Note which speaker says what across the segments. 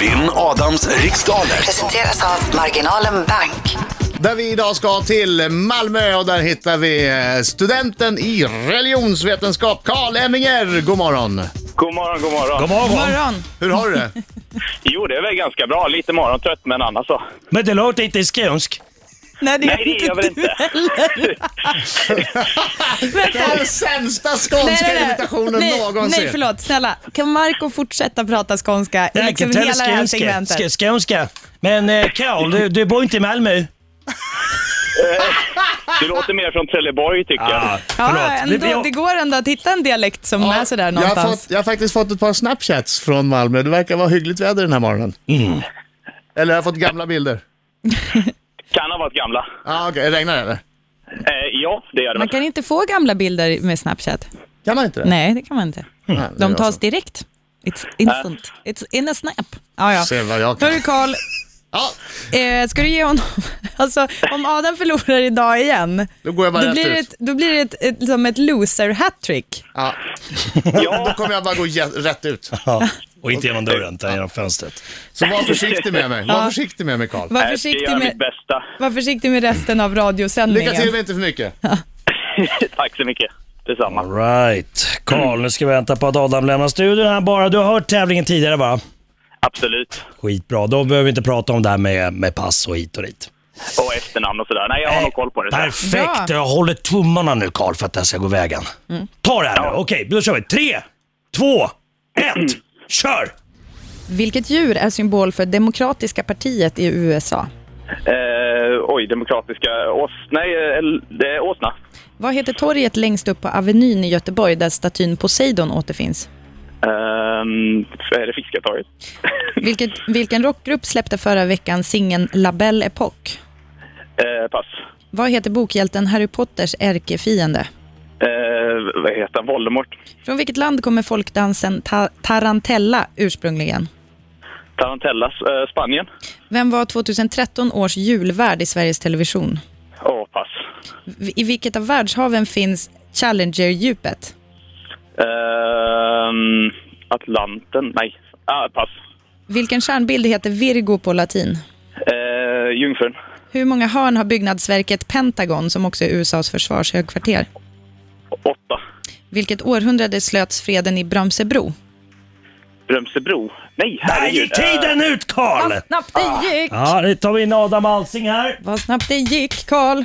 Speaker 1: Vinn Adams riksdaler.
Speaker 2: Presenteras av Marginalen Bank.
Speaker 3: Där vi idag ska till Malmö och där hittar vi eh, studenten i religionsvetenskap, Karl Emminger. God morgon!
Speaker 4: God morgon, god morgon.
Speaker 5: God morgon.
Speaker 6: Morgon.
Speaker 3: Hur har du det?
Speaker 4: Jo, det är väl ganska bra. Lite morgontrött, men annars så.
Speaker 5: Men det låter inte skånsk.
Speaker 6: Nej, det
Speaker 4: Nej, det
Speaker 6: är
Speaker 4: är jag väl
Speaker 6: inte du
Speaker 4: inte.
Speaker 6: heller.
Speaker 3: Det är den sämsta skånska imitationen
Speaker 6: nej,
Speaker 3: någonsin.
Speaker 6: nej, förlåt. Snälla, kan Marco fortsätta prata skånska i
Speaker 5: Jag
Speaker 6: liksom
Speaker 5: kan
Speaker 6: hela det här
Speaker 5: skånska.
Speaker 6: segmentet?
Speaker 5: Sk- skånska. Men eh, Karl, du, du bor inte i Malmö?
Speaker 6: Ah,
Speaker 4: Du låter mer från Trelleborg, tycker jag.
Speaker 6: Ja,
Speaker 5: Det,
Speaker 6: ändå, det
Speaker 5: blir-
Speaker 6: går ändå att hitta en dialekt som är sådär
Speaker 3: jag, har
Speaker 6: någonstans.
Speaker 3: fått, jag har faktiskt fått ett par snapchats från Malmö. Det verkar vara hyggligt väder den här morgonen. Eller jag har fått gamla bilder.
Speaker 4: Kan ha varit gamla.
Speaker 3: Ah, okay. Regnar det eller?
Speaker 4: Eh, ja, det gör det
Speaker 6: Man
Speaker 4: väl.
Speaker 6: kan inte få gamla bilder med Snapchat.
Speaker 3: Kan man inte det?
Speaker 6: Nej, det kan man inte.
Speaker 3: Nej, det
Speaker 6: De
Speaker 3: gör
Speaker 6: tas
Speaker 3: så.
Speaker 6: direkt. It's instant. It's in a snap. Ja, ja.
Speaker 3: Se vad jag kan.
Speaker 6: Hörru Karl,
Speaker 3: Ja,
Speaker 6: eh, ska du ge honom... Alltså, om Adam förlorar idag igen,
Speaker 3: då går jag bara
Speaker 6: då
Speaker 3: rätt
Speaker 6: blir det,
Speaker 3: ut.
Speaker 6: ett, då blir det ett, ett, liksom ett loser-hattrick.
Speaker 3: Ja. Då
Speaker 4: Ja,
Speaker 3: kommer jag bara gå jä- rätt ut.
Speaker 5: Ja. Och inte genom dörren, utan genom fönstret.
Speaker 3: Så var försiktig med mig. Var försiktig med mig Karl.
Speaker 4: jag
Speaker 6: Var
Speaker 4: eh, ska
Speaker 6: försiktig,
Speaker 4: göra mitt
Speaker 6: med,
Speaker 4: bästa.
Speaker 6: var försiktig med resten av radiosändningen.
Speaker 3: Lycka till men inte för mycket.
Speaker 4: Tack så mycket. Detsamma.
Speaker 5: All right. Karl, nu ska vi vänta på att Adam lämnar studion här bara. Du har hört tävlingen tidigare va?
Speaker 4: Absolut.
Speaker 5: Skitbra. Då behöver vi inte prata om det här med, med pass och hit och dit.
Speaker 4: Och efternamn och sådär. Nej, jag har nog koll på det.
Speaker 5: Perfekt.
Speaker 6: Bra. Mm.
Speaker 5: Jag håller tummarna nu Karl för att det här ska gå vägen. Ta det här nu. Okej, då kör vi. Tre, två, ett, kör!
Speaker 6: Vilket djur är symbol för Demokratiska partiet i USA?
Speaker 4: Eh, oj, demokratiska... Ås... Nej, eh, det är åsna.
Speaker 6: Vad heter torget längst upp på Avenyn i Göteborg där statyn Poseidon återfinns?
Speaker 4: Ehm, är det Fiskartorget?
Speaker 6: Vilket, vilken rockgrupp släppte förra veckan singeln La Belle Époque?
Speaker 4: Eh, pass.
Speaker 6: Vad heter bokhjälten Harry Potters ärkefiende?
Speaker 4: Eh, vad heter han? Voldemort?
Speaker 6: Från vilket land kommer folkdansen ta- Tarantella ursprungligen?
Speaker 4: Tarantellas? Eh, Spanien?
Speaker 6: Vem var 2013 års julvärd i Sveriges Television?
Speaker 4: Åh, pass.
Speaker 6: V- I vilket av världshaven finns Challenger-djupet?
Speaker 4: Ehm, Atlanten? Nej. Ah, pass.
Speaker 6: Vilken stjärnbild heter Virgo på latin?
Speaker 4: Eh, Jungfrun.
Speaker 6: Hur många hörn har byggnadsverket Pentagon, som också är USAs försvarshögkvarter?
Speaker 4: Åtta.
Speaker 6: Vilket århundrade slöts freden i Brömsebro?
Speaker 4: Brömsebro. Nej,
Speaker 5: Där
Speaker 4: herregud.
Speaker 5: gick tiden ut Karl!
Speaker 6: Vad snabbt det gick!
Speaker 5: Ja, nu tar vi in Adam Alsing här.
Speaker 6: Vad snabbt det gick, Karl!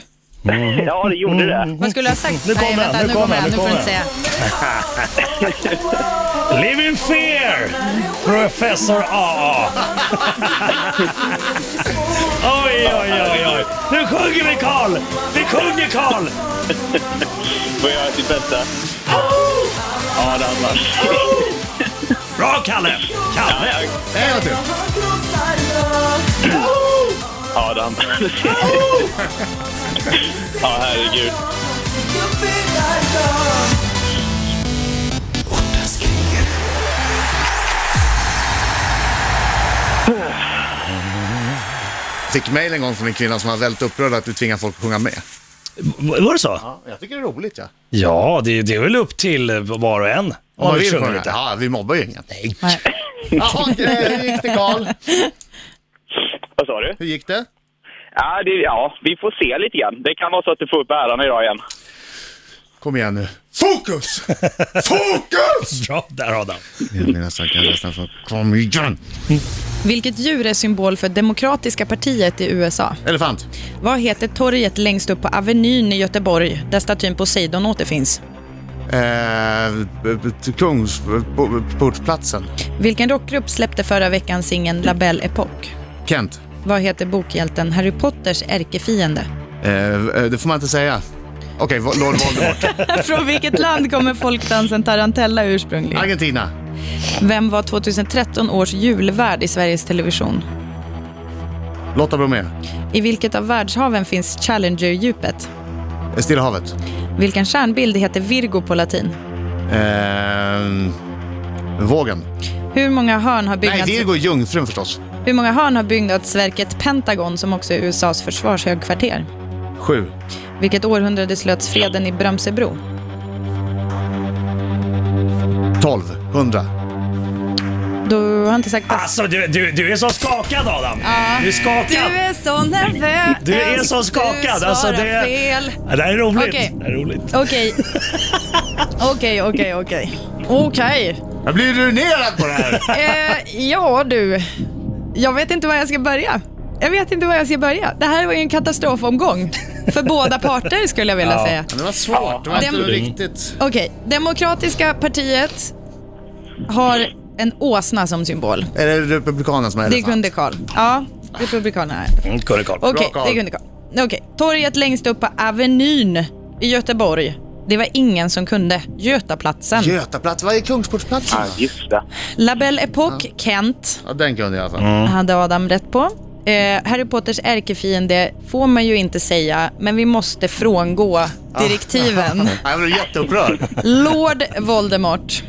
Speaker 4: Eh, ja, det gjorde det.
Speaker 5: Mm.
Speaker 6: Vad skulle jag ha sagt?
Speaker 5: Nu kommer
Speaker 6: Nej, vänta,
Speaker 5: han,
Speaker 6: nu kommer han. Nu får du inte
Speaker 5: kommer
Speaker 6: säga.
Speaker 5: Live in fear! Professor AA. oj, oj, oj, oj. Nu sjunger vi Karl! Vi sjunger Karl!
Speaker 4: Får jag göra sitt bästa? Ja, det hade varit.
Speaker 5: Bra Kalle!
Speaker 4: Ja,
Speaker 5: Kalle!
Speaker 4: jag-
Speaker 3: En gång till.
Speaker 4: Ja, det hade varit. Ja, herregud.
Speaker 3: Fick mejl en gång från en kvinna som var väldigt upprörd att du tvingar folk att sjunga med.
Speaker 5: V- Var det så?
Speaker 3: Ja, jag tycker det är roligt ja.
Speaker 5: Ja, det, det är väl upp till eh, var och en. Om
Speaker 3: Om man vill sjunga.
Speaker 5: lite.
Speaker 3: Ja, vi mobbar ju ingen. Nej.
Speaker 6: Nej.
Speaker 3: Jaha, eh, hur gick det Karl?
Speaker 4: Vad sa du?
Speaker 3: Hur gick det?
Speaker 4: Ja, det, ja, vi får se lite grann. Det kan vara så att du får upp äran idag igen.
Speaker 3: Kom igen nu. Fokus! Fokus!
Speaker 5: Bra där Adam.
Speaker 3: Jag blir nästan kanske nästan så. Kom igen!
Speaker 6: Vilket djur är symbol för Demokratiska partiet i USA?
Speaker 3: Elefant.
Speaker 6: Vad heter torget längst upp på Avenyn i Göteborg där statyn Poseidon återfinns?
Speaker 3: Eh, b- b- Kungsportsplatsen.
Speaker 6: Vilken rockgrupp släppte förra veckan singeln La Belle Époque?
Speaker 3: Kent.
Speaker 6: Vad heter bokhjälten Harry Potters ärkefiende?
Speaker 3: Eh, eh, det får man inte säga. Okej, okay, Lord Voldemort.
Speaker 6: Från vilket land kommer folkdansen Tarantella ursprungligen?
Speaker 3: Argentina.
Speaker 6: Vem var 2013 års julvärd i Sveriges Television?
Speaker 3: Lotta Bromé.
Speaker 6: I vilket av världshaven finns Challenger-djupet?
Speaker 3: Eh, Stilla havet.
Speaker 6: Vilken stjärnbild heter Virgo på latin?
Speaker 3: Eh, vågen.
Speaker 6: Hur många hörn har
Speaker 3: Nej,
Speaker 6: byggnads...
Speaker 3: Virgo är jungfrun förstås.
Speaker 6: Hur många hörn har byggnadsverket Pentagon, som också är USAs försvarshögkvarter?
Speaker 3: Sju.
Speaker 6: Vilket århundrade slöts freden i Brömsebro?
Speaker 3: Tolv. Hundra.
Speaker 7: Du har inte sagt pass.
Speaker 5: Alltså du, du, du är så skakad Adam. Du är
Speaker 6: Du
Speaker 5: skakad.
Speaker 6: är så nervös.
Speaker 5: Du är så skakad.
Speaker 6: Du
Speaker 5: Alltså, det,
Speaker 6: svarar fel.
Speaker 5: Ja, det här är roligt.
Speaker 6: Okej.
Speaker 5: Det här är roligt.
Speaker 7: Okej. Okej, okej, okej. Okej.
Speaker 3: Jag blir ruinerad på det här.
Speaker 6: Eh, ja du, jag vet inte var jag ska börja. Jag vet inte var jag ska börja. Det här var ju en katastrofomgång. För båda parter skulle jag vilja
Speaker 5: Ja.
Speaker 6: säga.
Speaker 3: Men Det var svårt. Det var inte
Speaker 6: Den-
Speaker 3: riktigt...
Speaker 6: Okej, Demokratiska partiet har en åsna som symbol.
Speaker 3: Är det Republikanerna som är
Speaker 6: Det
Speaker 3: elefant?
Speaker 6: kunde Karl. Ja, Republikanerna.
Speaker 5: Mm, Kurre Karl.
Speaker 6: Okej,
Speaker 3: Karl.
Speaker 6: det kunde Karl. Okej, torget längst upp på Avenyn i Göteborg. Det var ingen som kunde. Götaplatsen.
Speaker 3: Götaplats, vad är Kungsportsplatsen?
Speaker 4: Ja, just det.
Speaker 6: La Belle Époque, Kent.
Speaker 3: Ja, den kunde jag alltså. i alla fall.
Speaker 6: hade Adam rätt på. Eh, Harry Potters ärkefiende får man ju inte säga, men vi måste frångå direktiven.
Speaker 3: Ja, Jag blev jätteupprörd.
Speaker 6: Lord Voldemort.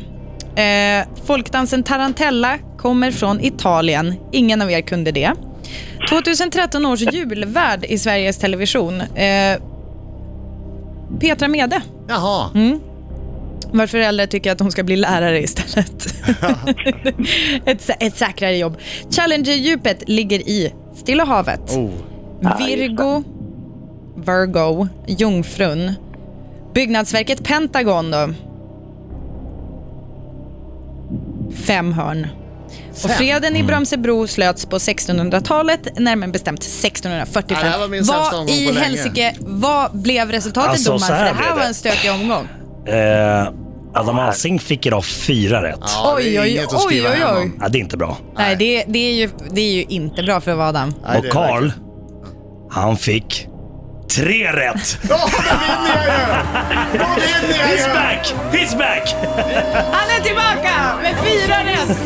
Speaker 6: Eh, folkdansen Tarantella kommer från Italien. Ingen av er kunde det. 2013 års julvärd i Sveriges Television. Eh, Petra Mede,
Speaker 3: Jaha.
Speaker 6: Mm. vars föräldrar tycker att hon ska bli lärare istället. ett, sä- ett säkrare jobb. Challenger-djupet ligger i Stilla havet.
Speaker 3: Oh.
Speaker 6: Virgo, Virgo, Jungfrun. Byggnadsverket Pentagon då. Fem hörn. Och freden
Speaker 3: Mm.
Speaker 6: i Brömsebro slöts på 1600-talet, närmare bestämt 1645.
Speaker 3: Ja, det här var min sämsta
Speaker 6: vad
Speaker 3: omgång på
Speaker 6: i
Speaker 3: länge.
Speaker 6: helsike, vad blev resultatet
Speaker 5: Alltså,
Speaker 6: domaren?
Speaker 5: så
Speaker 6: För
Speaker 5: här
Speaker 6: det här
Speaker 5: blev
Speaker 6: var
Speaker 5: det.
Speaker 6: en stökig omgång.
Speaker 5: Eh, Adam Alsing fick idag fyra rätt. Ja.
Speaker 3: Ja, det är
Speaker 6: Oj, oj,
Speaker 3: inget att skriva
Speaker 6: oj, oj,
Speaker 3: hem
Speaker 6: oj.
Speaker 3: om.
Speaker 5: det är inte bra.
Speaker 6: Nej, det, det, är ju, det är ju inte bra för att vara Adam.
Speaker 3: Nej, det
Speaker 5: Och
Speaker 3: är
Speaker 5: Karl,
Speaker 3: verkligen-
Speaker 5: han fick tre rätt.
Speaker 3: Ja, det vinner jag ju! Då vinner jag
Speaker 5: He's
Speaker 3: ju!
Speaker 5: back! He's back!
Speaker 6: Han är tillbaka med fyra rätt!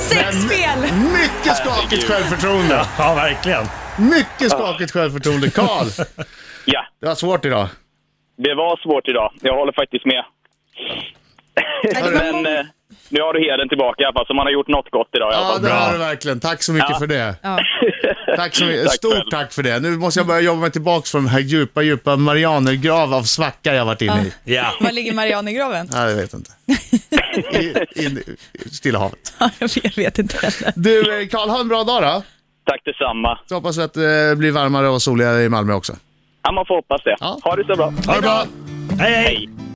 Speaker 6: Sex fel!
Speaker 3: Mycket skakigt självförtroende.
Speaker 5: Ja, verkligen.
Speaker 3: Mycket skakigt självförtroende. Karl,
Speaker 4: Ja,
Speaker 3: det var svårt idag.
Speaker 4: det var svårt idag. Jag håller faktiskt med. Men eh, nu har du heden tillbaka i alla fall, så man har gjort något gott idag i alla
Speaker 3: Ja,
Speaker 4: fall.
Speaker 3: det har du verkligen. Tack så mycket för det.
Speaker 6: Ja.
Speaker 3: Tack så mycket.
Speaker 4: Tack
Speaker 3: Stort
Speaker 4: själv.
Speaker 3: tack för det. Nu måste jag börja jobba mig tillbaka från den här djupa, djupa Marianergrav av svacka jag varit inne i.
Speaker 5: Ja.
Speaker 6: Var ligger Marianne i graven?
Speaker 3: Nej, jag vet inte. I, in, i Stilla havet.
Speaker 6: Ja, jag vet inte heller.
Speaker 3: Du, eh, Karl, ha en bra dag då.
Speaker 4: Tack detsamma.
Speaker 3: Så hoppas vi att eh, det blir varmare och soligare i Malmö också.
Speaker 4: Ja, man får hoppas det.
Speaker 3: Ja.
Speaker 4: Ha det så bra.
Speaker 3: Ha det bra!
Speaker 5: Hej, hej!
Speaker 4: Hej.